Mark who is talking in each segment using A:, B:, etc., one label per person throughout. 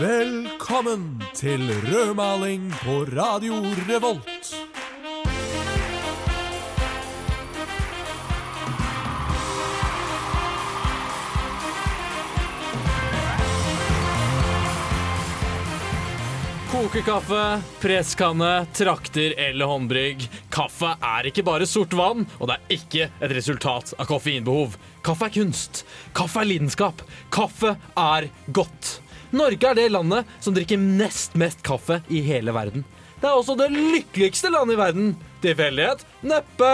A: Velkommen til rødmaling på Radio Revolt.
B: Kokekaffe, presskanne, trakter eller håndbrygg. Kaffe er ikke bare sort vann, og det er ikke et resultat av koffeinbehov. Kaffe er kunst. Kaffe er lidenskap. Kaffe er godt. Norge er det landet som drikker nest mest kaffe i hele verden. Det er også det lykkeligste landet i verden. Tilfeldighet? Neppe.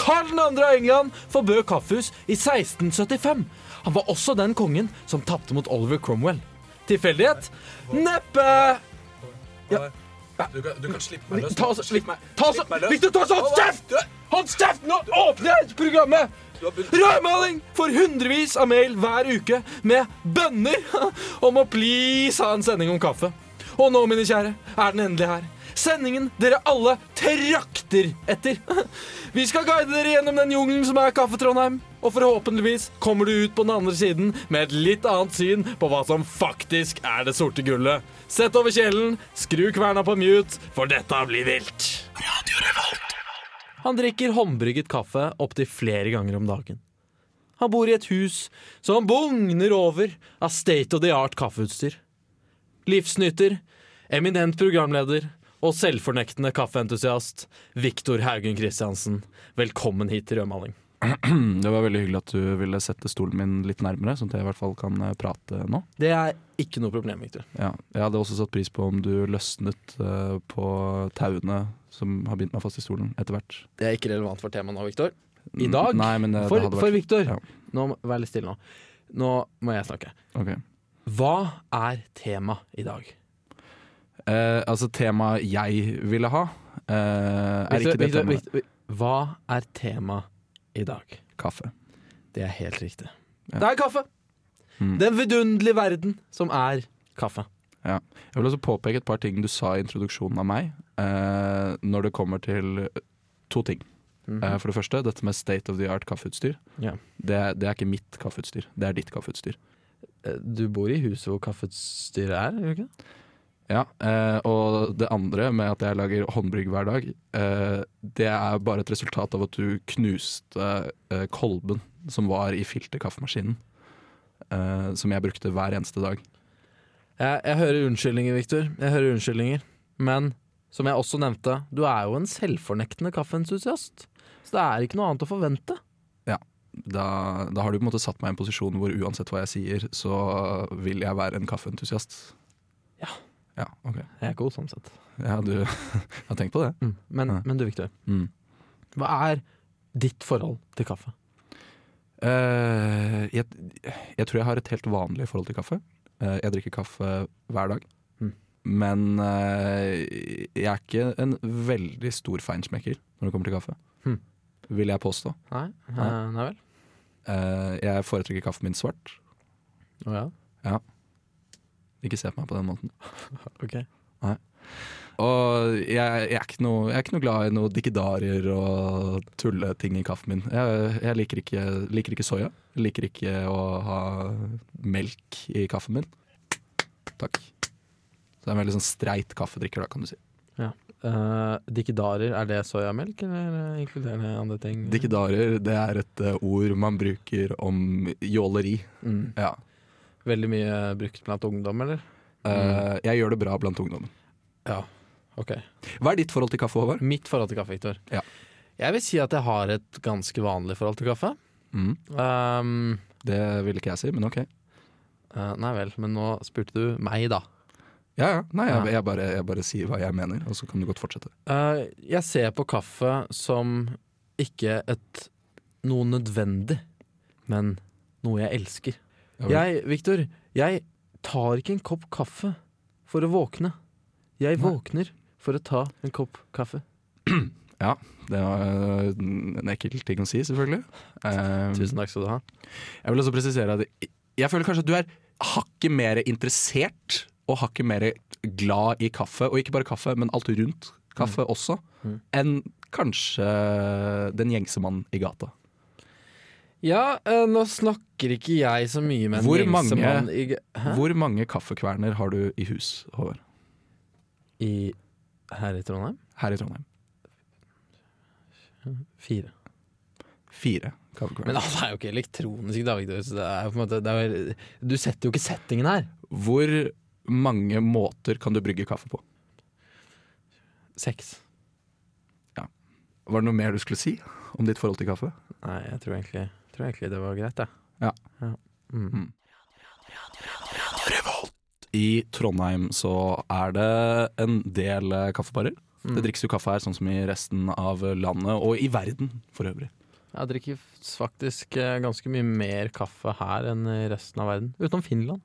B: Karl 2. av England forbød kaffehus i 1675. Han var også den kongen som tapte mot Oliver Cromwell. Tilfeldighet? Neppe!
C: Du kan, du kan slippe meg løs.
B: Ta oss,
C: Slipp meg-
B: ta oss,
C: slipp meg løs.
B: Victor, ta oss, hold kjeft! Hold kjeft! Nå åpner jeg programmet!
C: Du har begynt-
B: Rødmaling får hundrevis av mail hver uke med bønner om å please ha en sending om kaffe. Og nå, mine kjære, er den endelig her. Sendingen dere alle trakter etter. Vi skal guide dere gjennom den jungelen som er Kaffe Trondheim. Og forhåpentligvis kommer du ut på den andre siden med et litt annet syn på hva som faktisk er det sorte gullet. Sett over kjelen, skru kverna på mute, for dette blir vilt. Han drikker håndbrygget kaffe opptil flere ganger om dagen. Han bor i et hus som bugner over av state of the art kaffeutstyr. Livsnyter, eminent programleder og selvfornektende kaffeentusiast Viktor Haugen Christiansen, velkommen hit til Rødmaling.
D: Mm, Det var veldig hyggelig at du ville sette stolen min litt nærmere, sånn at jeg i hvert fall kan eh, prate nå.
B: Det er ikke noe problem, Viktor.
D: Ja. Jeg hadde også satt pris på om du løsnet eh, på tauene som har bindt meg fast i stolen, etter hvert.
B: Det er ikke relevant for temaet nå, Viktor. I
D: Mm,
B: dag?
D: Nei, men det,
B: For,
D: det hadde
B: for
D: vært
B: Viktor,
D: Ja.
B: nå må- vær litt stille nå. Nå må jeg snakke.
D: Ok.
B: Hva er tema i dag?
D: Eh, altså, temaet jeg ville ha, eh, er
B: Victor,
D: ikke det
B: Victor,
D: temaet
B: Victor, hva er tema i dag?
D: kaffe.
B: Det er helt riktig.
D: Ja.
B: Det er kaffe!
D: Mm.
B: Den vidunderlige verden som er kaffe.
D: Jeg vil også påpeke et par ting du sa i introduksjonen av meg, eh, når det kommer til to ting.
B: Mm.
D: Eh, For det første, dette med state of the art kaffeutstyr.
B: Ja.
D: Det, det er ikke mitt kaffeutstyr, det er ditt kaffeutstyr.
B: Eh, Du bor i huset hvor kaffestyret er, gjør du ikke det?
D: Ja, eh, Og det andre med at jeg lager håndbrygg hver dag, eh, det er bare et resultat av at du knuste eh, kolben som var i filterkaffemaskinen. eh, som jeg brukte hver eneste dag.
B: Jeg, jeg hører unnskyldninger, Victor. Jeg hører unnskyldninger. Men som jeg også nevnte, du er jo en selvfornektende kaffeentusiast. Så det er ikke noe annet å forvente.
D: Da, da har du på en måte satt meg i en posisjon hvor uansett hva jeg sier, så vil jeg være en kaffeentusiast.
B: Ja.
D: Ja, ok.
B: Jeg er god sånn sett.
D: Ja, du har tenkt på det.
B: Mm. Men,
D: Ja.
B: men du, Victor.
D: Mm.
B: Hva er ditt forhold til kaffe?
D: Eh, jeg, jeg tror jeg har et helt vanlig forhold til kaffe. Eh, jeg drikker kaffe hver dag.
B: Mm.
D: Men eh, jeg er ikke en veldig stor feinsmekker når det kommer til kaffe.
B: Mm.
D: Vil jeg påstå.
B: Nei,
D: Nei.
B: Eh, nei vel?
D: Eh, jeg foretrekker kaffen min svart.
B: Å ja.
D: Ikke se på meg på den måten.
B: Ok.
D: Og jeg, jeg, er, ikke noe, jeg er ikke noe glad i noe dikkedarier og tulleting i kaffen min. Jeg, jeg liker, ikke, liker ikke soya. Jeg liker ikke å ha melk i kaffen min. Takk. Så det er en veldig sånn streit kaffedrikker, da, kan du si.
B: Eh, dikkedarer, er det soyamelk, eller eh, inkluderer det andre ting?
D: Dikkedarier det er et eh, ord man bruker om jåleri.
B: Mm.
D: Ja.
B: Veldig mye brukt blant ungdom, eller?
D: Eh, jeg gjør det bra blant ungdommen.
B: Ja. Ok.
D: Hva er ditt forhold til kaffe, Håvard?
B: Mitt forhold til kaffe, Victor.
D: Ja.
B: Jeg vil si at jeg har et ganske vanlig forhold til kaffe.
D: Mm.
B: Ehm,
D: Det ville ikke jeg si, men ok.
B: eh, nei vel, men nå spurte du meg, da.
D: Ja, ja. Nei,
B: Ja.
D: jeg, jeg, bare, jeg bare sier hva jeg mener, og så kan du godt fortsette.
B: Eh, jeg ser på kaffe som ikke et noe nødvendig, men noe jeg elsker.
D: Ja, vel.
B: Jeg, Victor, jeg tar ikke en kopp kaffe for å våkne. Jeg
D: Nei.
B: våkner for å ta en kopp kaffe.
D: Det var øh, en ekkel ting å si, selvfølgelig. Eh,
B: Tusen takk skal du ha.
D: Jeg vil også presisere at jeg- jeg føler kanskje at du er hakket mer interessert og hakket mer glad i kaffe, og ikke bare kaffe, men alt rundt kaffe også,
B: Mm.
D: enn kanskje den gjengse mannen i gata.
B: Ja, eh, nå snakker ikke jeg så mye med en
D: Hvor mange-
B: gjengsemann i, g- Hæ?
D: Hvor mange kaffekverner har du i hus, Håvard?
B: I Her i Trondheim?
D: Her i Trondheim.
B: Fire.
D: Fire kaffekverner.
B: Men alle er jo ikke elektronisk David, så det er jo på en måte det er, vel- Du setter jo ikke settingen her.
D: Hvor mange måter kan du brygge kaffe på?
B: Seks.
D: Var det noe mer du skulle si om ditt forhold til kaffe?
B: Nei, jeg tror egentlig, jeg tror egentlig det var greit, jeg.
D: Ja.
B: Mm.
D: I Trondheim så er det en del eh, kaffebarer.
B: Mm.
D: Det drikkes jo kaffe her, sånn som i resten av eh, landet og i verden for øvrig.
B: Jeg drikker f- faktisk eh, ganske mye mer kaffe her enn i resten av verden. Utenom Finland.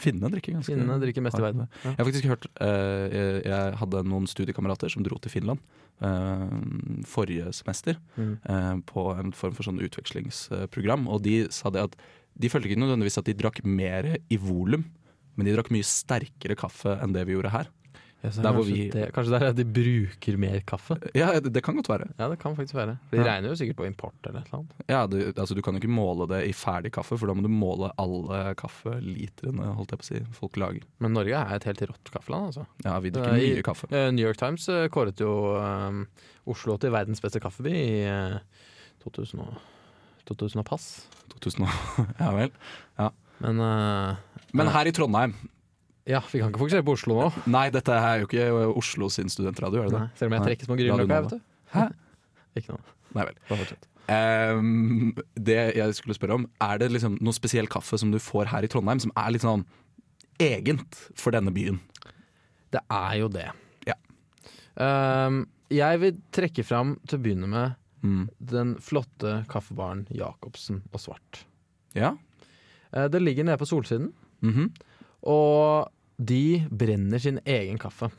D: Finnene drikker ganske
B: Finnene drikker mest i verden.
D: Jeg har faktisk hørt eh, jeg, jeg hadde noen studiekamerater som dro til Finland eh, forrige semester
B: Mm.
D: eh, på en form for sånn utvekslingsprogram, og de sa det at de følte ikke nødvendigvis at de drakk mer i volum, men de drakk mye sterkere kaffe enn det vi gjorde her.
B: Ja, så
D: Der hvor
B: kanskje,
D: vi-
B: det, kanskje der er de bruker mer kaffe?
D: Ja, det, det kan godt være.
B: Ja, det kan faktisk være. For De regner jo sikkert på import eller et eller annet.
D: Ja, du, altså, du kan jo ikke måle det i ferdig kaffe, for da må du måle alle kaffelitrene holdt jeg på å si, folk lager.
B: Men Norge er et helt rått kaffeland, altså.
D: Ja, Vi drikker
B: Nei.
D: mye kaffe.
B: Eh, New York Times eh, kåret jo eh, Oslo til verdens beste kaffeby i eh, 2000 og, 2000 og pass.
D: 2000 og, ja vel.
B: Men eh,
D: Men her i Trondheim
B: ja, vi kan ikke fokusere på Oslo nå.
D: Nei, dette er jo ikke Oslo sin studentradio, er det det?
B: Nei, selv om jeg
D: Nei.
B: trekker små
D: La du
B: grynløk
D: nå
B: her, vet du.
D: Hæ?
B: Ikke noe.
D: Nei vel.
B: Bare fortsett.
D: Ehm, det jeg skulle spørre om, er det liksom noe spesiell kaffe som du får her i Trondheim, som er litt sånn egent for denne byen?
B: Det er jo det.
D: Ja.
B: Ehm, jeg vil trekke fram til å begynne med
D: Mm.
B: den flotte kaffebaren Jacobsen og Svart.
D: Ja?
B: Eh, det ligger nede på solsiden,
D: Mhm.
B: og de brenner sin egen kaffe.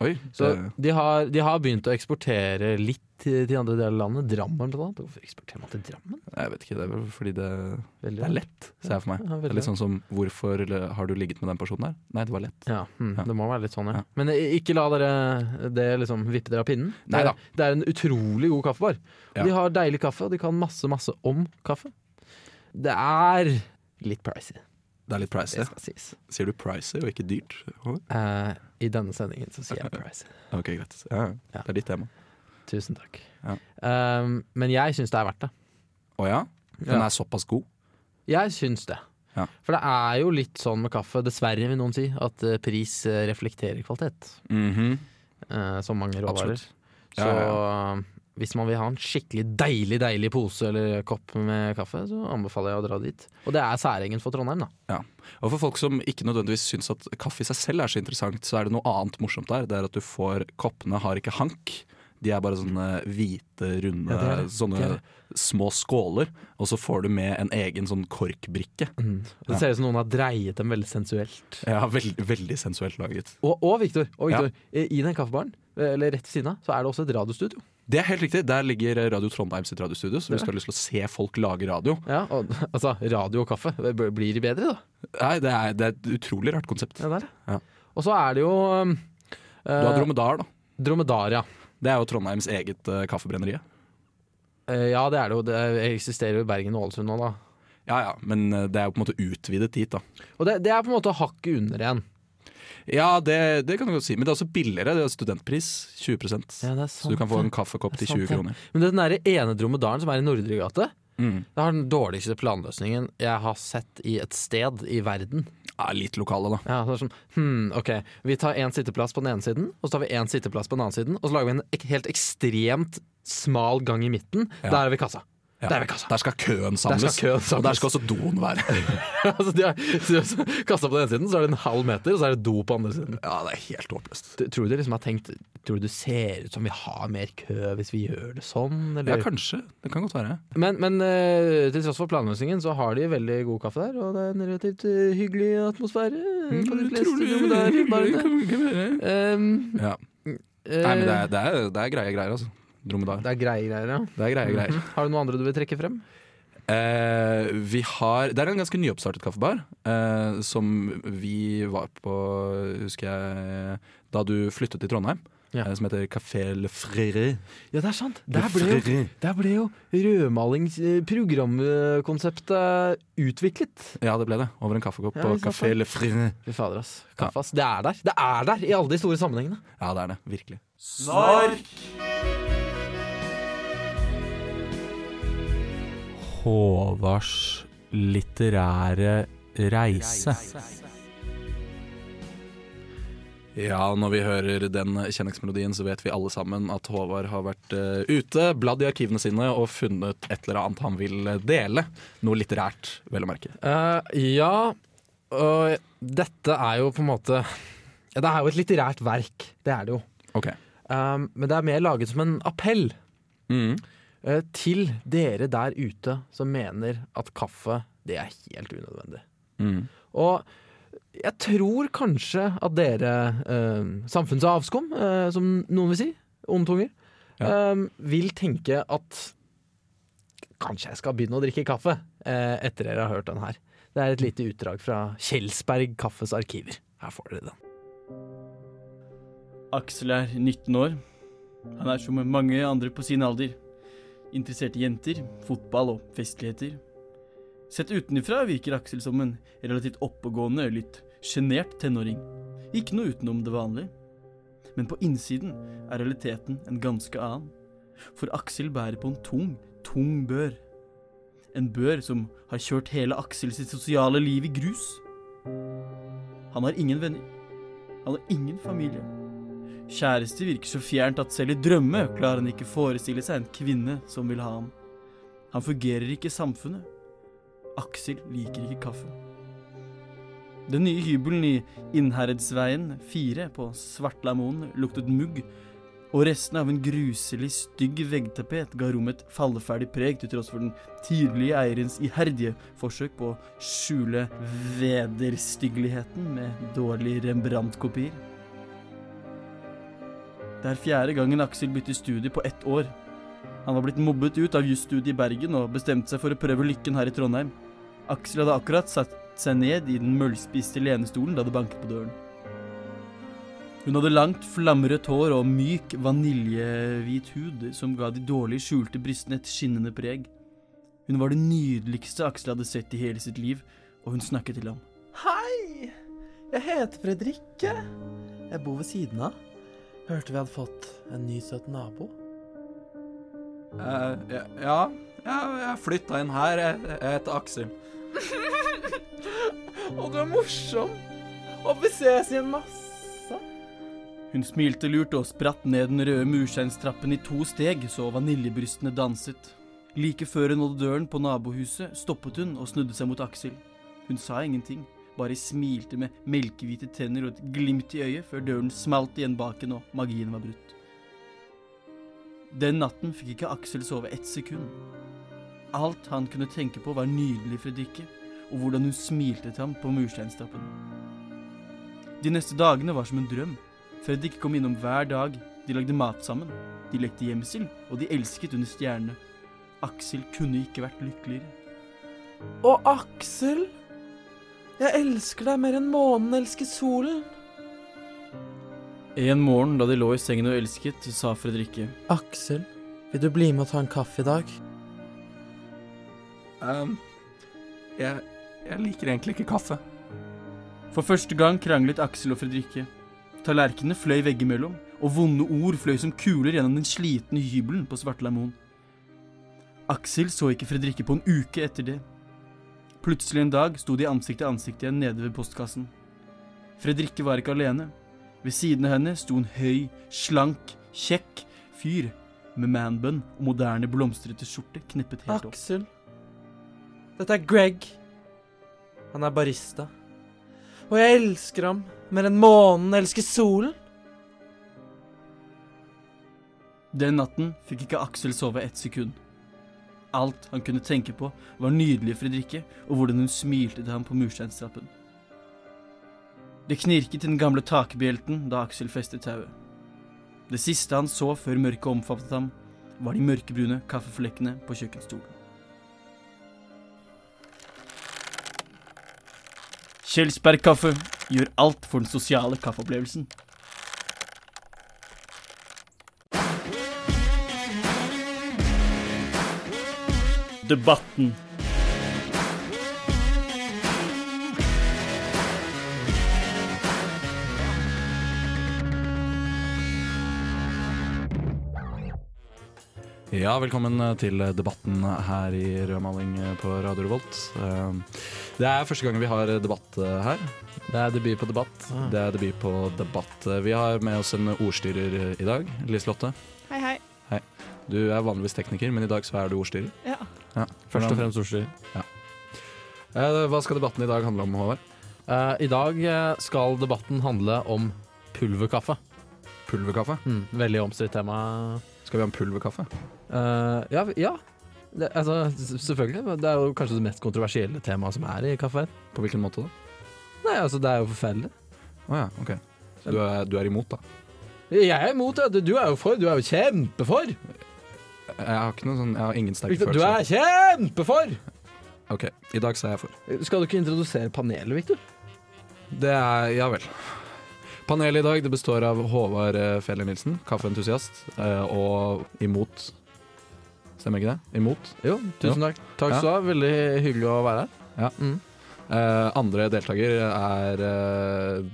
D: Oi.
B: Så
D: det-
B: de har, de har begynt å eksportere litt til, til andre deler av landet. Drammen blant annet. Hvorfor eksporterer man til Drammen?
D: jeg vet ikke, det er vel fordi det,
B: Veldig
D: det er lett, ser jeg for meg.
B: Ja,
D: Det
B: veldig
D: er litt sånn som hvorfor eller, har du ligget med den personen her? Nei, det var lett.
B: Ja, mm,
D: Ja.
B: Det må være litt sånn, ja.
D: Ja.
B: Men i- ikke la dere det liksom vippe dere av pinnen. Det
D: Nei
B: er,
D: da.
B: det er en utrolig god kaffebar.
D: Ja.
B: De har deilig kaffe, og de kan masse, masse om kaffe. Det er litt pricy,
D: Det er litt pricy.
B: det skal sies.
D: Sier du pricy og ikke dyrt? Håvard?
B: Eh, I denne sendingen så sier jeg pricy.
D: Ok, greit. Ja, ja.
B: Ja.
D: Det er ditt tema.
B: Tusen takk.
D: Ja.
B: Eh, men jeg syns det er verdt det.
D: Å ja? Den
B: Ja.
D: er såpass god?
B: Jeg syns det.
D: Ja.
B: For det er jo litt sånn med kaffe, dessverre vil noen si, at eh, pris eh, reflekterer kvalitet.
D: Mhm.
B: eh, som mange råvarer.
D: Absolutt. Ja,
B: så
D: ja,
B: eh, hvis man vil ha en skikkelig deilig deilig pose eller kopp med kaffe, så anbefaler jeg å dra dit. Og det er særegent for Trondheim, da.
D: Og for folk som ikke nødvendigvis syns at kaffe i seg selv er så interessant, så er det noe annet morsomt der. Det er at du får Koppene har ikke hank. De er bare sånne hvite, runde,
B: Ja, det er det.
D: sånne
B: Det er det.
D: små skåler. Og så får du med en egen sånn korkbrikke.
B: Og Det ser ut som noen har dreiet dem veldig sensuelt.
D: Ja, veld, Veldig sensuelt laget.
B: Og, og Victor, og Victor eh, i den kaffebaren, eh, eller rett ved siden av, så er det også et radiostudio.
D: Det er helt riktig. Der ligger Radio Trondheim sitt radiostudio. Så
B: Det er
D: hvis du har lyst til å se folk lage radio
B: Ja, og, altså, radio og kaffe det b- blir bedre, da.
D: Nei, det er, det er et utrolig rart konsept.
B: Ja, der.
D: Ja.
B: Og så er det jo um,
D: Du har
B: eh,
D: Dromedar, da.
B: Dromedar, ja.
D: Det er jo Trondheims eget uh, kaffebrenneri.
B: Eh, ja, det er det jo. Det eksisterer jo i Bergen og Ålesund nå, da.
D: Ja ja, men eh, det er jo på en måte utvidet dit, da.
B: Og det, det er på en måte hakket under igjen.
D: Ja, det, det kan du godt si. Men det er også billigere. Det er studentpris 20
B: Ja, det er
D: Så du kan få
B: sant,
D: en kaffekopp
B: Det
D: til
B: er sant,
D: 20
B: det.
D: kroner.
B: Men den der ene dromedaren som er i Nordregate,
D: Mm.
B: det har den dårligste planløsningen jeg har sett i et sted i verden.
D: Ja, litt lokale, da.
B: Ja, så det er sånn, hmm, ok, Vi tar én sitteplass på den ene siden, og så tar vi én sitteplass på den andre siden, og så lager vi en ek helt ekstremt smal gang i midten.
D: Ja.
B: Der er vi kassa.
D: Ja.
B: Der er vi kassa.
D: Der skal køen
B: Der
D: samles.
B: skal køen
D: Og der
B: samles.
D: skal også doen være.
B: altså, de har, de har så- kassa på den ene siden, så er det en halv meter, og så er det do på andre siden.
D: ja, det er helt håpløst.
B: Du- Tror du de liksom har tenkt Tror du det ser ut som vi har mer kø hvis vi gjør det sånn? Eller?
D: Ja, kanskje. Det kan godt være.
B: Men, men eh, til tross for planløsningen så har de veldig god kaffe der, og det er en relativt eh, hyggelig atmosfære. eh,
D: Mm,
B: på de fleste dromedar i barene. Ehm,
D: Ja.
B: eh,
D: Nei, men det er, det, er, det er greie greier, altså. Dromedar.
B: det er greie greier, ja.
D: Det er greie greier.
B: Mhm. Har du noe andre du vil trekke frem?
D: Eh, vi har, det er en ganske nyoppstartet kaffebar eh, som vi var på, husker jeg, da du flyttet til Trondheim.
B: Ja.
D: eh, som heter Café Le Frere.
B: Ja, det er sant.
D: Le
B: Der ble jo,
D: Frere.
B: der ble jo rødmalingsprogramkonseptet utviklet.
D: Ja, det ble det. Over en kaffekopp
B: Ja,
D: på
B: ikke sant,
D: Café Le Frere.
B: Fy fader, ass. Kaffe, ass. Det er der. Det er der i alle de store sammenhengene.
D: Ja, det er det. Virkelig.
A: Snark! Håvards litterære reise.
D: Ja, når vi hører den kjenningsmelodien, så vet vi alle sammen at Håvard har vært eh, ute, bladd i arkivene sine og funnet et eller annet han vil eh, dele. Noe litterært, vel å merke.
B: Eh, ja, og dette er jo på en måte ja, Det er jo et litterært verk, det er det jo.
D: Ok.
B: Um, men det er mer laget som en appell
D: Mm.
B: eh, til dere der ute som mener at kaffe det er helt unødvendig.
D: Mm.
B: Og jeg tror kanskje at dere, eh, samfunns- og avskum, eh, som noen vil si, onde tunger, eh, vil tenke at kanskje jeg skal begynne å drikke kaffe eh, etter dere har hørt den her. Det er et lite utdrag fra Kjelsberg Kaffes arkiver. Her får dere den.
E: Aksel er 19 år. Han er som mange andre på sin alder. Interessert i jenter, fotball og festligheter. Sett utenfra virker Aksel som en relativt oppegående, litt sjenert tenåring. Ikke noe utenom det vanlige. Men på innsiden er realiteten en ganske annen. For Aksel bærer på en tung, tung bør. En bør som har kjørt hele Aksel sitt sosiale liv i grus. Han har ingen venner. Han har ingen familie. Kjæreste virker så fjernt at selv i drømme klarer han ikke forestille seg en kvinne som vil ha ham. Han fungerer ikke i samfunnet. Aksel liker ikke kaffe. Den nye hybelen i Innherredsveien 4 på Svartlamoen luktet mugg, og restene av en gruselig, stygg veggtapet ga rommet et falleferdig preg til tross for den tidlige eierens iherdige forsøk på å skjule vederstyggeligheten med dårlige Rembrandt-kopier. Det er fjerde gangen Aksel bytter studie på ett år. Han var blitt mobbet ut av jusstudiet i Bergen og bestemte seg for å prøve lykken her i Trondheim. Aksel hadde akkurat satt seg ned i den møllspiste lenestolen da det banket på døren. Hun hadde langt, flamrødt hår og myk, vaniljehvit hud som ga de dårlig skjulte brystene et skinnende preg. Hun var det nydeligste Aksel hadde sett i hele sitt liv, og hun snakket til ham.
F: Hei! Jeg heter Fredrikke. Jeg bor ved siden av. Hørte vi hadde fått en ny søt nabo.
D: Eh, ja, ja, jeg flytta inn her. Jeg, heter Aksel.
F: Og du er morsom. Og vi ses igjen masse.
E: Hun smilte lurt og spratt ned den røde mursteinstrappen i to steg så vaniljebrystene danset. Like før hun nådde døren på nabohuset, stoppet hun og snudde seg mot Aksel. Hun sa ingenting, bare smilte med melkehvite tenner og et glimt i øyet før døren smalt igjen bak henne og magien var brutt. Den natten fikk ikke Aksel sove ett sekund. Alt han kunne tenke på var nydelig Fredrikke, og hvordan hun smilte til ham på mursteinstrappen. De neste dagene var som en drøm. Fredrik kom innom hver dag. De lagde mat sammen. De lekte gjemsel, og de elsket under stjernene. Aksel kunne ikke vært lykkeligere.
F: Og Aksel, jeg elsker deg mer enn månen elsker solen.
E: En morgen da de lå i sengen og elsket, sa Fredrikke.
F: Aksel, vil du bli med og ta en kaffe i dag?
D: Eh, jeg, liker egentlig ikke kaffe.
E: For første gang kranglet Aksel og Fredrikke. Tallerkenene fløy veggimellom, og vonde ord fløy som kuler gjennom den slitne hybelen på Svartlamoen. Aksel så ikke Fredrikke på en uke etter det. Plutselig en dag sto de ansikt til ansikt igjen nede ved postkassen. Fredrikke var ikke alene. Ved siden av henne sto en høy, slank, kjekk fyr med manbun og moderne, blomstrete skjorte kneppet helt opp.
F: Aksel. Dette er Greg. Han er barista. Og jeg elsker ham mer enn månen elsker solen.
E: Den natten fikk ikke Aksel sove ett sekund. Alt han kunne tenke på, var nydelige Fredrikke og hvordan hun smilte til ham på mursteinstrappen. Det knirket i den gamle takbjelten da Aksel festet tauet. Det siste han så før mørket omfattet ham, var de mørkebrune kaffeflekkene på kjøkkenstolen. Kjelsberg kaffe gjør alt for den sosiale kaffeopplevelsen. debatten.
D: Ja, velkommen eh, til debatten her i Rødmaling på Radio Revolt. Eh, Det er første gang vi har debatt eh, her. Det er debut på debatt.
B: Ah.
D: Det er debut på debatt. Eh, Vi har med oss en ordstyrer eh, i dag, Liselotte.
G: Hei, hei.
D: Du er vanligvis tekniker, men i dag så er du ordstyrer.
G: Ja.
D: Ja.
A: Først og
D: Hvordan-
A: fremst ordstyrer.
D: Eh, Hva skal debatten i dag handle om, Håvard?
B: Eh, I dag eh, skal debatten handle om pulverkaffe.
D: Pulverkaffe?
B: Mm, veldig omstridt tema.
D: Skal vi ha en pulverkaffe?
B: Eh, ja. ja. Det, altså, s- selvfølgelig. men Det er jo kanskje det mest kontroversielle temaet som er i kaffe.
D: På hvilken måte da?
B: Nei, altså, det er jo forferdelig.
D: Å ja, ok. Så du er, du er imot, da?
B: Jeg er imot det. Du er jo for. Du er jo kjempefor.
D: Jeg har ikke noe sånn, jeg har ingen sterke
B: Victor, du
D: følelser.
B: er kjempefor!
D: Ok, I dag så er jeg for.
B: Skal du ikke introdusere panelet, Victor?
D: Det er Ja vel. Panelet i dag det består av Håvard eh, Feller Nilsen, kaffeentusiast, eh, og imot. Stemmer ikke det? Imot.
B: Jo, tusen takk. Takk skal du ha. Veldig hyggelig å være her.
D: Eh, andre deltaker er eh,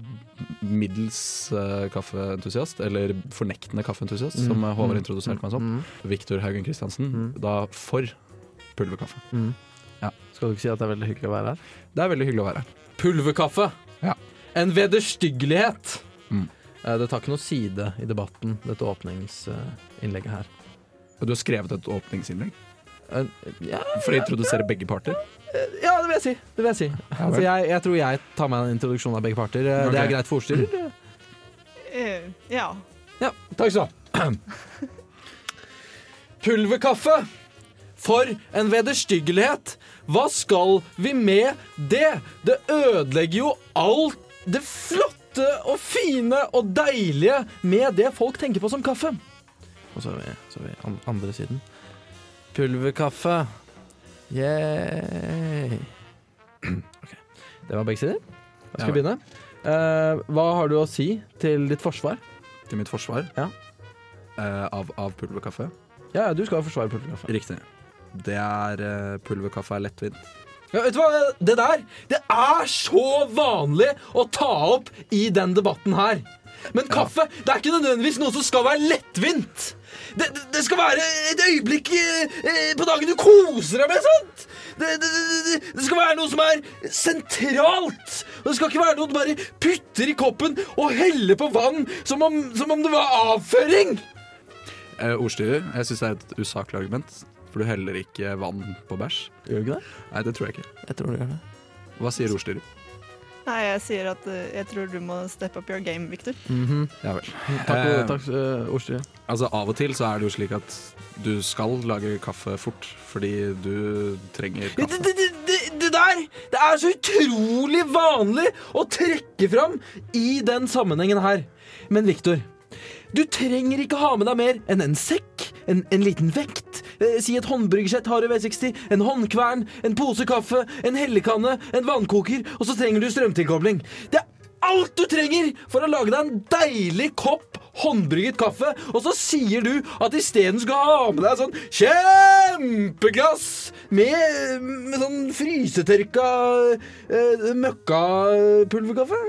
D: middels eh, kaffeentusiast, eller fornektende kaffeentusiast, som eh, Håvard introduserte meg som.
B: Mm.
D: Victor Haugen Christiansen,
B: Mm.
D: da for pulverkaffe.
B: Skal du ikke si at det er veldig hyggelig å være her?
D: Det er veldig hyggelig å være her.
B: Pulverkaffe!
D: Ja.
B: En vederstyggelighet!
D: Mm.
B: Eh, Det tar ikke noe side i debatten, dette åpningsinnlegget her.
D: Du har skrevet et åpningsinnlegg
B: Eh, Ja, eh,
D: for å introdusere begge parter.
B: ja, det vil jeg si. Det vil jeg si. Altså, jeg, jeg tror jeg tar meg en introduksjon av begge parter. Eh, Det
D: Ok.
B: er greit for ordstyrer.
G: Eh, ja.
B: Ja, takk skal du ha. Pulverkaffe. For en vederstyggelighet. Hva skal vi med det? Det ødelegger jo alt det flotte og fine og deilige med det folk tenker på som kaffe. Og så er vi, så er vi an andre siden. Pulverkaffe. Yeah. Ok, Det var begge sider. Jeg skal
D: Ja vel.
B: begynne. Eh, hva har du å si til ditt forsvar?
D: Til mitt forsvar
B: Ja.
D: eh, av, av pulverkaffe.
B: Ja, ja, du skal forsvare pulverkaffe.
D: Riktig. Det er eh, Pulverkaffe er lettvint.
B: Ja, vet du hva? Det der det er så vanlig å ta opp i den debatten her. Men kaffe det er ikke nødvendigvis noe som skal være lettvint. Det, det, det skal være et øyeblikk eh, eh, på dagen du koser deg med. sant? Det, det, det, det- det skal være noe som er sentralt. Og det skal ikke være noe du bare putter i koppen og heller på vann som om, som om det var avføring.
D: Eh, ordstyrer, jeg syns det er et usaklig argument. For du heller ikke vann på bæsj.
B: Gjør du ikke det?
D: Nei, det tror jeg ikke.
B: Jeg tror du gjør det.
D: Hva sier ordstyrer?
G: Nei, jeg sier at eh, jeg tror du må step up your game, Victor.
D: Ja vel.
B: Mhm. Takk,
D: Eh,
B: takk Orsi.
D: Altså, av og til så er det jo slik at du skal lage kaffe fort, fordi du trenger
B: Det,
D: kaffe.
B: det, det, det- det der det er så utrolig vanlig å trekke fram i den sammenhengen her. Men Victor, du trenger ikke ha med deg mer enn en sekk, en, en liten vekt, eh, si et håndbryggesett Harry V60, en håndkvern, en pose kaffe, en hellekanne, en vannkoker, og så trenger du strømtilkobling. Det er alt du trenger for å lage deg en deilig kopp håndbrygget kaffe, og så sier du at isteden skal ha med deg sånn kjempeglass med, med sånn frysetørka eh, møkkapulverkaffe.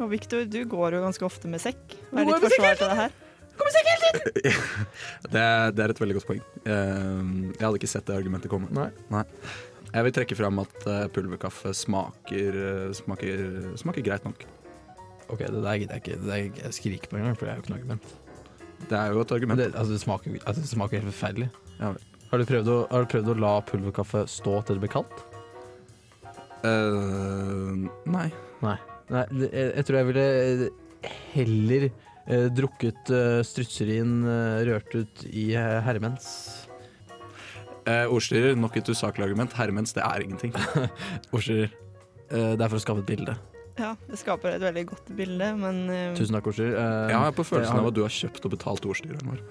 G: Og Victor, du går jo ganske ofte med sekk. Hva
B: Nå
G: er
B: er
G: ditt
B: vi
G: forsvar til det her?
D: Det, er- det er et veldig godt poeng. Eh, jeg hadde ikke sett det argumentet komme.
B: Nei.
D: Jeg vil trekke fram at eh, pulverkaffe smaker, eh, smaker, smaker greit nok.
B: Ok, det der gidder jeg ikke. Det der jeg skriker på engang, for det er jo ikke noe argument.
D: Det er jo et
B: Men
D: argument.
B: det, altså, det, smaker, altså, det smaker helt forferdelig.
D: Ja vel.
B: Har du, prøvd å, har du prøvd å la pulverkaffe stå til det blir kaldt?
D: Eh, nei.
B: Nei, det- jeg, jeg tror jeg ville eh, heller eh, drukket eh, strutserin eh, rørt ut i eh, herremens.
D: Eh, ordstyrer, nok et usaklig argument. Hermens, det er ingenting.
B: Orser. Eh, det er for å skape et bilde.
G: Ja, det skaper et veldig godt bilde, men eh,
B: Tusen takk, Orser. Eh,
D: Jeg har på
B: jeg
D: følelsen
B: har-
D: av at du har kjøpt og betalt ordstyreren vår.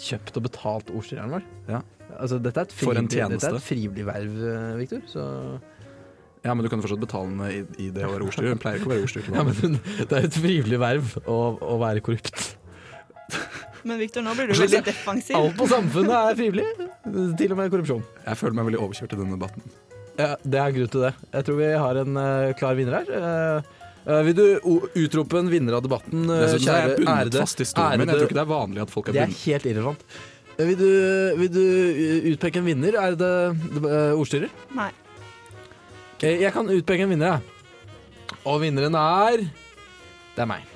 B: Kjøpt og betalt ordstireren vår.
D: Ja.
B: Altså, dette er et
D: For en
B: frivillig, dette
D: tjeneste.
B: er et frivillig verv, eh, Victor. Så
D: Ja, men du kan jo fortsatt betale henne i, i det å være ordstyrer. Hun pleier ikke å være ordstyrer. til
B: ja,
D: vanlig.
B: men, Det er et frivillig verv å, å være korrupt.
G: Men Victor, nå blir du veldig defensiv.
B: Alt på samfunnet er frivillig, til og med korrupsjon.
D: Jeg føler meg veldig overkjørt i denne debatten.
B: Ja, Det er grunn til det. Jeg tror vi har en eh, klar vinner her. Eh, eh, vil du o- utrope en vinner av debatten, eh,
D: Dessuten så er
B: kjære
D: jeg bundet
B: ærede?
D: fast i stolen min. Jeg
B: ærede-
D: tror ikke det er vanlig at folk er
B: Det er
D: bundet.
B: helt irrelevant. Eh, Vil du, vil du eh, utpeke en vinner, ærede eh, ordstyrer?
G: Nei.
B: Eh, Jeg kan utpeke en vinner, jeg. Og vinneren er Det er meg.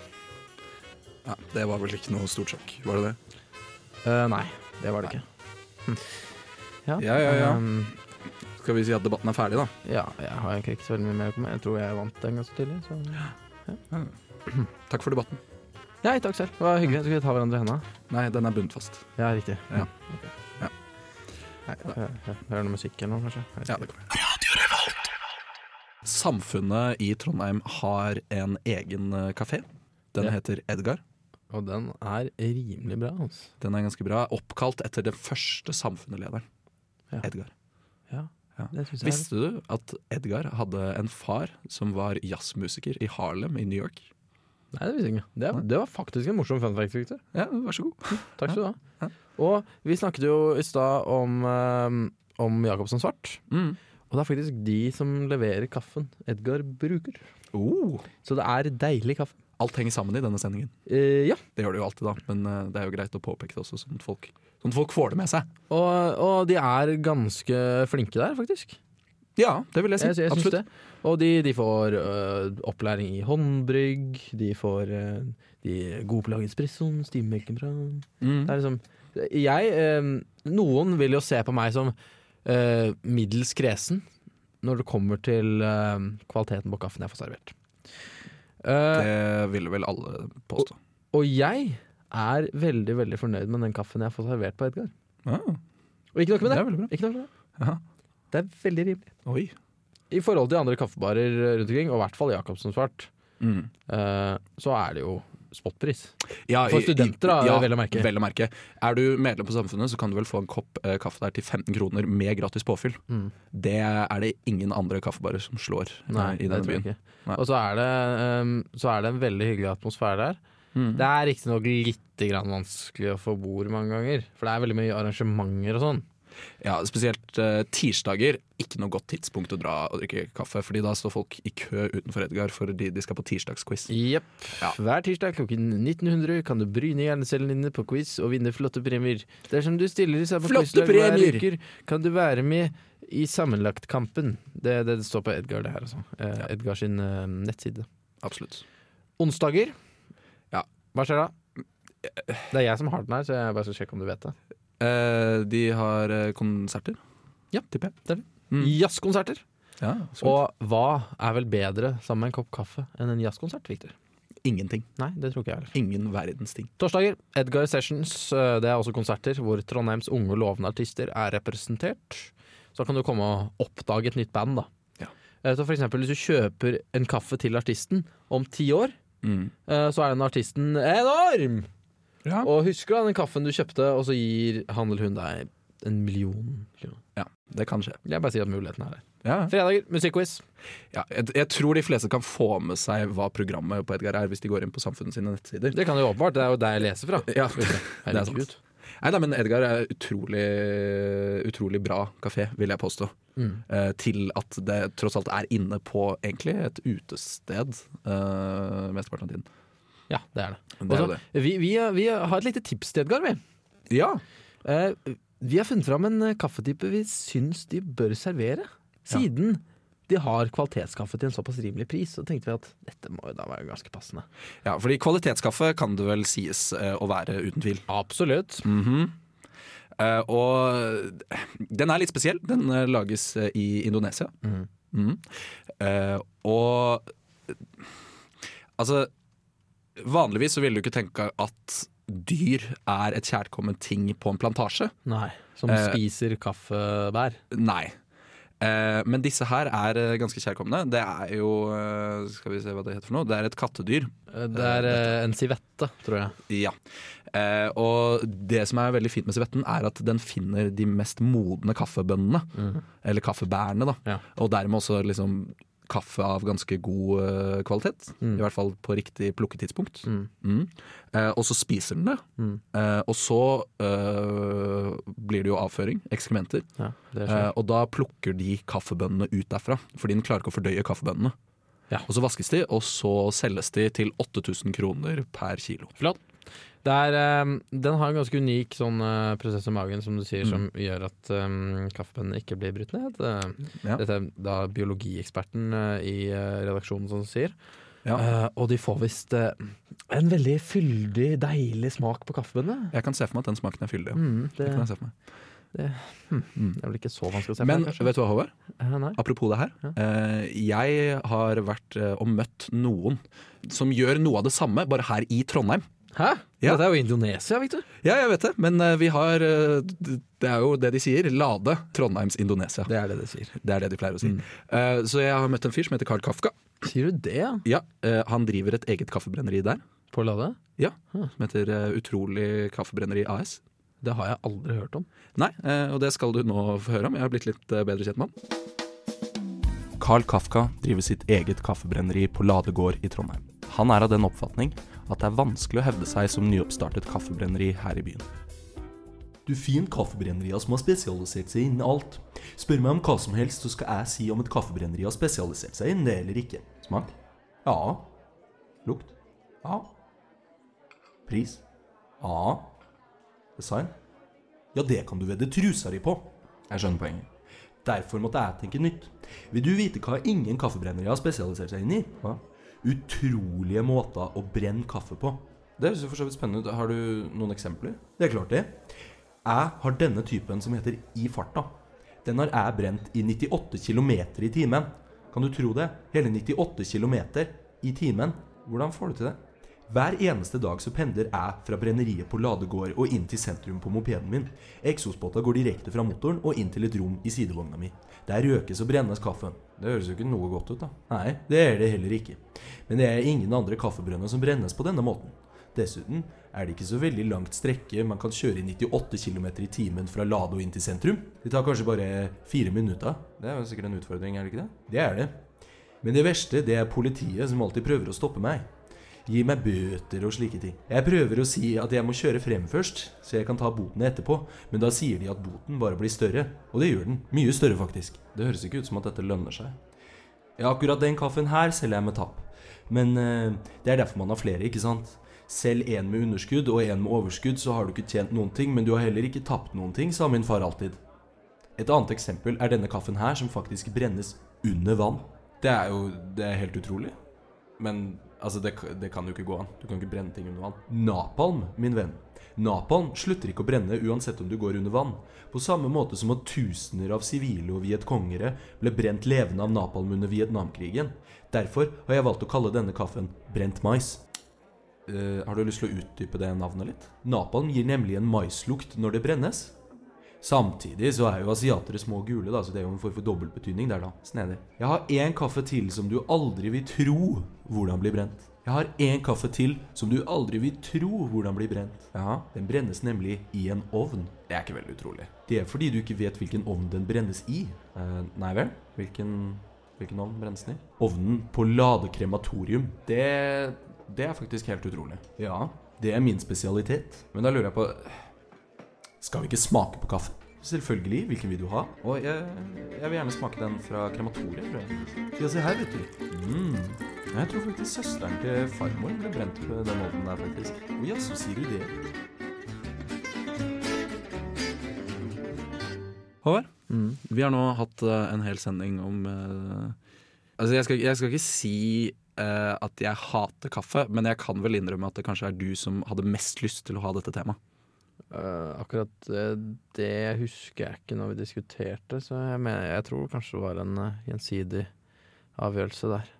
D: Ja, det var vel ikke noe stort sjokk, var det det?
B: Eh, nei, det var det ikke. Hm.
D: Ja, ja, ja.
B: ehm,
D: Skal vi si at debatten er ferdig, da?
B: ja, jeg har egentlig ikke så veldig mye mer å komme med. Jeg tror jeg vant den ganske tidlig. Så.
D: Takk for debatten.
B: Nei, takk selv. Det var hyggelig. Skal vi ta hverandre i henda?
D: Nei, den er bundet fast.
B: Ja, riktig.
D: Ja.
B: Ok.
D: Ja. Nei, da-
B: Hø- hø- Hører noe musikk eller noe, kanskje? Jeg vet
D: Ja,
B: ikke.
D: det kommer. Samfunnet i Trondheim har en egen eh, kafé. Den
B: Ja.
D: heter Edgar.
B: Og den er rimelig bra, altså.
D: Den er ganske bra. Oppkalt etter den første samfunnslederen.
B: Ja.
D: Edgar.
B: Det synes jeg er-
D: Visste du at Edgar hadde en far som var jazzmusiker i Harlem i New York?
B: Nei, det visste jeg ikke. Det, er- det var faktisk en morsom fun fact, Victor.
D: Ja, vær så god.
B: Takk skal du ha.
D: Ja.
B: Og vi snakket jo i stad om, um, om Jacobsen Svart.
D: Mm.
B: Og det er faktisk de som leverer kaffen Edgar bruker.
D: Oh.
B: Så det er deilig kaffe.
D: Alt henger sammen i denne sendingen.
B: Eh, ja.
D: Det gjør det jo alltid, da. Men eh, det er jo greit å påpeke det også, sånn at folk, sånn at folk får det med seg.
B: Og, og de er ganske flinke der, faktisk.
D: Ja, det vil jeg si.
B: Jeg, jeg syns
D: Absolutt.
B: det. Og de, de får øh, opplæring i håndbrygg, de får øh, de gode på å lage espresso, stimemelken bra Det
D: Mm.
B: er liksom Jeg øh, Noen vil jo se på meg som øh, middels kresen når det kommer til øh, kvaliteten på kaffen jeg får servert. Eh,
D: Det ville vel alle påstå.
B: og jeg er veldig veldig fornøyd med den kaffen jeg får servert på Edgar.
D: Ja,
B: Og ikke noe
D: det
B: med det.
D: er veldig bra.
B: Ikke noe med det.
D: Ja.
B: det er veldig rimelig.
D: Oi.
B: I forhold til andre kaffebarer eh, rundt omkring, og i hvert fall Jacobsen Svart.
D: Mm.
B: eh, så er det jo spotpris.
D: Ja,
B: For
D: i-
B: studenter, da,
D: i- ja,
B: vel å merke.
D: Vel å merke. Er du medlem på Samfunnet, så kan du vel få en kopp eh, kaffe der til 15 kroner med gratis påfyll.
B: Mm.
D: Det er det ingen andre kaffebarer som slår eh, i denne byen.
B: ikke.
D: Nei.
B: Og så er, det, ehm, så er det en veldig hyggelig atmosfære der.
D: Mm.
B: Det er riktignok litt grann vanskelig å få bord mange ganger, for det er veldig mye arrangementer og sånn.
D: Ja, spesielt eh, tirsdager. Ikke noe godt tidspunkt å dra og drikke kaffe, Fordi da står folk i kø utenfor Edgar fordi de skal på tirsdagsquiz.
B: Jepp.
D: Ja.
B: Hver tirsdag klokken 1900 kan du bryne hjernecellene dine på quiz og vinne flotte premier. Dersom du stiller i samme
D: Flotte
B: quizlag hver
D: premier!
B: uke, kan du være med i sammenlagtkampen. Det, det står på Edgar, det her, altså. Eh, Edgar sin eh, nettside.
D: Absolutt.
B: Onsdager.
D: Ja.
B: Hva skjer da? Det er jeg som har den her, så jeg bare skal sjekke om du vet det.
D: Eh, de har eh, konserter.
B: Ja,
D: tipper jeg. Mm.
B: Jazzkonserter.
D: Ja, og
B: Og hva er vel bedre sammen med en kopp kaffe enn en jazzkonsert, Victor?
D: ingenting.
B: Nei, det tror ikke jeg heller.
D: Ingen verdens ting.
B: Torsdager, Edgar Sessions. eh, Det er også konserter hvor Trondheims unge og lovende artister er representert. Så kan du komme og oppdage et nytt band, da.
D: Ja.
B: Eh, Så for eksempel hvis du kjøper en kaffe til artisten om ti år, eh, så er den artisten enorm!
D: Ja.
B: Og husker du den kaffen du kjøpte, og så gir han eller hun deg en million kroner?
D: ja, det kan skje.
B: Jeg bare sier at muligheten er der.
D: Ja.
B: Fredager, musikkquiz.
D: Ja, jeg, jeg tror de fleste kan få med seg hva programmet på Edgar er, hvis de går inn på samfunnet sine nettsider.
B: Det kan jo åpenbart, det er jo der jeg leser fra.
D: Ja, det er sant.
B: Herregud.
D: Nei, nei, men Edgar er utrolig, utrolig bra kafé, vil jeg påstå.
B: Mm.
D: Eh, til at det tross alt er inne på egentlig et utested eh, mesteparten av tiden.
B: Ja, det er det.
D: Det er jo
B: Også,
D: det.
B: vi, vi, vi har et lite tips til Edgar, vi.
D: Ja,
B: Eh, vi har funnet fram en eh, kaffetype vi syns de bør servere. Siden de har kvalitetskaffe til en såpass rimelig pris, så tenkte vi at dette må jo da være ganske passende.
D: ja, fordi kvalitetskaffe kan det vel sies eh, å være, uten tvil.
B: Absolutt.
D: Mhm. Eh, og den er litt spesiell. Den eh, lages eh, i Indonesia.
B: Mhm.
D: Mhm. Eh, og altså Vanligvis så ville du ikke tenke at dyr er et kjærkomment ting på en plantasje.
B: Nei, som
D: Eh,
B: spiser kaffebær.
D: Nei. Eh, men disse her er eh, ganske kjærkomne. Det er jo eh, Skal vi se hva det heter for noe. Det er et kattedyr.
B: Eh, Det er eh, en sivette, tror jeg.
D: Ja. Eh, og det som er veldig fint med civetten, er at den finner de mest modne kaffebønnene. Eller kaffebærene, da.
B: Mhm. Ja.
D: Og dermed også liksom kaffe av ganske god eh, kvalitet.
B: Mm.
D: I hvert fall på riktig plukketidspunkt.
B: Mm.
D: Mm. Eh, og så spiser den det.
B: Mm.
D: Eh, og så eh, blir det jo avføring, ekskrementer.
B: Ja, det sånn. skjer.
D: Eh, og da plukker de kaffebønnene ut derfra, fordi den klarer ikke å fordøye kaffebønnene.
B: Ja.
D: Og så vaskes de, og så selges de til 8000 kroner per kilo.
B: Det er, eh, den har en ganske unik sånn eh, prosess i magen som du sier,
D: Mm.
B: som gjør at um, kaffebønnene ikke blir brutt ned. Eh,
D: Ja.
B: Dette er da biologieksperten eh, i eh, redaksjonen som sier.
D: Ja.
B: Eh, og de får visst eh, en veldig fyldig, deilig smak på kaffebønnene.
D: Jeg kan se for meg at den smaken er fyldig. ja.
B: Mm, det,
D: Det kan
B: det
D: jeg se for meg.
B: er vel ikke så vanskelig å se
D: Men
B: for seg, kanskje.
D: vet du hva, Håvard?
B: Eh, nei.
D: Apropos det her.
B: Ja.
D: eh, Jeg har vært eh, og møtt noen som gjør noe av det samme, bare her i Trondheim.
B: Hæ?
D: Ja.
B: Dette er jo Indonesia, Victor.
D: Ja, jeg vet det, men eh, vi har eh, d- Det er jo det de sier. Lade Trondheims Indonesia.
B: Det Mm. er det de sier.
D: Det er det de pleier å si. Eh, Så jeg har møtt en fyr som heter Karl Kafka.
B: Sier du det?
D: Ja, eh, Han driver et eget kaffebrenneri der,
B: På Lade?
D: som heter eh, Utrolig Kaffebrenneri AS.
B: Det har jeg aldri hørt om.
D: Nei, eh, og det skal du nå få høre om. Jeg har blitt litt eh, bedre kjent med han.
A: Carl Kafka driver sitt eget kaffebrenneri på Ladegård i Trondheim. Han er av den oppfatning at det er vanskelig å hevde seg som nyoppstartet kaffebrenneri her i byen.
H: Du finner kaffebrennerier som har spesialisert seg innen alt. Spør meg om hva som helst, så skal jeg si om et kaffebrenneri har spesialisert seg innen det eller ikke. Smak? Ja. Lukt? Ja. Pris? Ja. Design? Ja, det kan du vedde trusa di på. Jeg skjønner poenget. Derfor måtte jeg tenke nytt. Vil du vite hva ingen kaffebrennerier har spesialisert seg inn i? Hva? Utrolige måter å brenne kaffe på. Det høres jo for så vidt spennende ut. Har du noen eksempler? Det er klart det. Jeg har denne typen som heter I farta. Den har jeg brent i 98 km i timen. Kan du tro det? Hele 98 km i timen. Hvordan får du til det? Hver eneste dag så pendler jeg fra brenneriet på Ladegård og inn til sentrum på mopeden min. Eksospotta går direkte fra motoren og inn til et rom i sidevogna mi. Der røkes og brennes kaffen. Det høres jo ikke noe godt ut, da. Nei, det er det heller ikke. Men det er ingen andre kaffebrønner som brennes på denne måten. Dessuten er det ikke så veldig langt strekke man kan kjøre i 98 km i timen fra Lade og inn til sentrum. Det tar kanskje bare fire minutter. Det er jo sikkert en utfordring, er det ikke det? Det er det. Men det verste, det er politiet som alltid prøver å stoppe meg. Gi meg bøter og slike ting. Jeg prøver å si at jeg må kjøre frem først, så jeg kan ta boten etterpå, men da sier de at boten bare blir større. Og det gjør den. Mye større, faktisk. Det høres ikke ut som at dette lønner seg. Ja, akkurat den kaffen her selger jeg med tap. Men eh, det er derfor man har flere, ikke sant? Selv en med underskudd og en med overskudd, så har du ikke tjent noen ting, men du har heller ikke tapt noen ting, sa min far alltid. Et annet eksempel er denne kaffen her, som faktisk brennes under vann. Det er jo det er helt utrolig. Men altså, det, det kan jo ikke gå an. Du kan ikke brenne ting under vann. Napalm, min venn. Napalm slutter ikke å brenne uansett om du går under vann. På samme måte som at tusener av sivile og vietkongere ble brent levende av napalm under Vietnamkrigen. Derfor har jeg valgt å kalle denne kaffen brent mais. Eh, har du lyst til å utdype det navnet litt? Napalm gir nemlig en maislukt når det brennes. Samtidig så er jo asiatere små og gule, da, så det er jo en form for dobbeltbetydning der, da. Snedig. Jeg har én kaffe til som du aldri vil tro hvordan blir brent. Jeg har én kaffe til som du aldri vil tro hvordan blir brent. Ja, Den brennes nemlig i en ovn. Det er ikke veldig utrolig. Det er fordi du ikke vet hvilken ovn den brennes i. Eh, nei vel? Hvilken, hvilken ovn brennes den i? Ovnen på Lade krematorium. Det, det er faktisk helt utrolig. Ja, det er min spesialitet. Men da lurer jeg på skal vi ikke smake på kaffe? Selvfølgelig. Hvilken vil du ha? Og jeg, jeg vil gjerne smake den fra krematoriet. tror jeg. Ja, se her, vet du. Mm. Jeg tror faktisk søsteren til farmor ble brent på den ovnen der, faktisk. Å jaså, sier du det?
D: Håvard, Mm. vi har nå hatt eh, en hel sending om eh, Altså, jeg skal, jeg skal ikke si eh, at jeg hater kaffe, men jeg kan vel innrømme at det kanskje er du som hadde mest lyst til å ha dette temaet.
B: Eh, akkurat eh, det husker jeg ikke når vi diskuterte, så jeg, mener, jeg tror kanskje det var en eh, gjensidig avgjørelse der.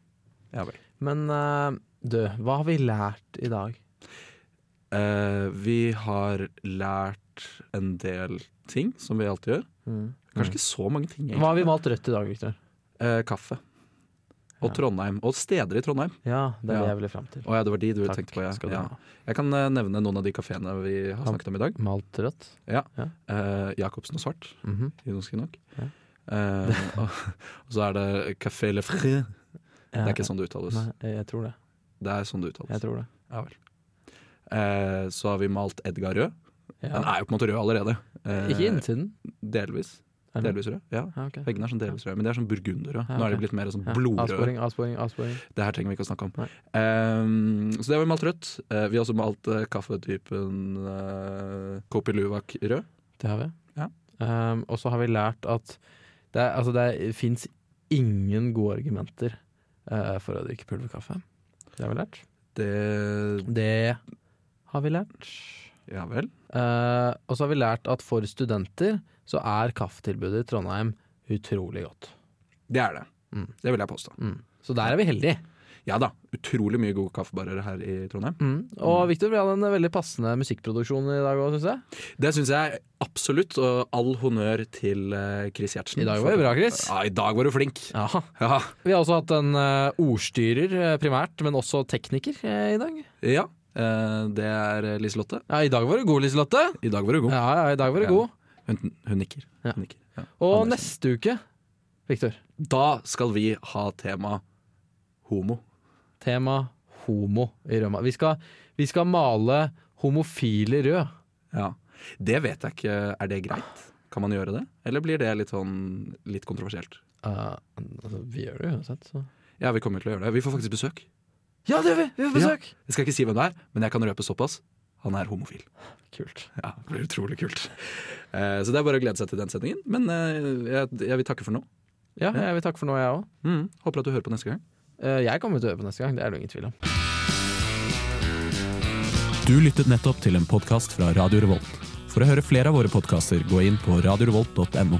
D: Ja vel.
B: Men eh, du, hva har vi lært i dag?
D: Eh, vi har lært en del ting, som vi alltid gjør.
B: Mm.
D: Kanskje ikke så mange ting. egentlig.
B: Hva har vi malt rødt i dag, Victor?
D: Eh, kaffe. Og
B: Ja.
D: Trondheim. Og steder i Trondheim.
B: Ja, det er
D: Ja.
B: det jeg ville fram til.
D: Å ja, det var de du
B: Takk
D: tenkte på. Ja.
B: skal du
D: Ja.
B: ha.
D: Jeg kan eh, nevne noen av de kafeene vi har
B: Ja.
D: snakket om i dag.
B: Malt rødt?
D: Eh, Jacobsen og Svart,
B: Mhm.
D: ironisk nok.
B: Ja.
D: Eh, og, og så er det Café Le Fré Det er ikke sånn det uttales.
B: Nei, jeg tror det.
D: Det er sånn det uttales.
B: Jeg tror det.
D: Ja vel. Eh, så har vi malt Edgar rød.
B: Ja.
D: Den er jo på en måte rød allerede. Eh,
B: Ikke innsiden.
D: Delvis.
B: Er det-
D: Delvis rød. Ja.
B: Ja, ok.
D: Veggene er sånn delvis røde, men de er sånn burgunderrøde.
B: Ja,
D: Nå er
B: ok.
D: de blitt mer sånn
B: Ja.
D: blodrøde.
B: Avsporing, avsporing, avsporing.
D: Det her trenger vi ikke å snakke om.
B: Nei.
D: Eh, så det har vi malt rødt. Eh, vi har også malt eh, kaffetypen uh, Kopiluwak rød.
B: Det har vi.
D: Ja.
B: Ehm, og så har vi lært at det, er- altså det fins ingen gode argumenter eh, for å drikke pulverkaffe. Det har vi lært.
D: Det
B: Det har vi lært.
D: Ja vel.
B: Eh, og så har vi lært at for studenter så er kaffetilbudet i Trondheim utrolig godt.
D: Det er det.
B: Mm.
D: Det vil jeg påstå.
B: Mm. Så der er vi heldige.
D: Ja da. Utrolig mye gode kaffebarer her i Trondheim.
B: Mm. Og Victor, vi hadde en veldig passende musikkproduksjon i dag òg, syns jeg.
D: Det syns jeg absolutt, og all honnør til eh, Chris Gjertsen.
B: I dag var det bra, Chris.
D: Ja, i dag var du flink.
B: Ja.
D: Ja.
B: Vi har også hatt en eh, ordstyrer eh, primært, men også tekniker eh, i dag.
D: ja. eh, det er eh, Liselotte.
B: Ja, I dag var du god, Liselotte.
D: I dag var du god.
B: Ja, ja, i dag var du
D: Ja.
B: god.
D: Hun, hun nikker.
B: Ja.
D: Hun nikker. Ja.
B: Og
D: Andersen.
B: neste uke, Victor,
D: Da skal vi ha tema homo.
B: tema homo i Røma. Vi skal, vi skal male homofile rød.
D: Ja. Det vet jeg ikke. Er det greit? Kan man gjøre det? Eller blir det litt sånn litt kontroversielt?
B: Eh, altså, vi gjør det uansett, så
D: Ja, vi kommer til å gjøre det. Vi får faktisk besøk.
B: Ja, det gjør vi! Vi får besøk!
D: Jeg skal ikke si hvem det er, men jeg kan røpe såpass. Han er homofil.
B: Kult.
D: Ja, det blir utrolig kult. Eh, så det er bare å glede seg til den sendingen. Men eh, jeg, jeg vil takke for nå.
B: Ja, jeg vil takke for nå, jeg òg.
D: Mm, håper at du hører på neste gang.
B: jeg kommer til å øve på neste gang, det er det ingen tvil om.
I: Du lyttet nettopp til en podkast fra Radio Revolt. For å høre flere av våre podkaster, gå inn på radiorevolt.no.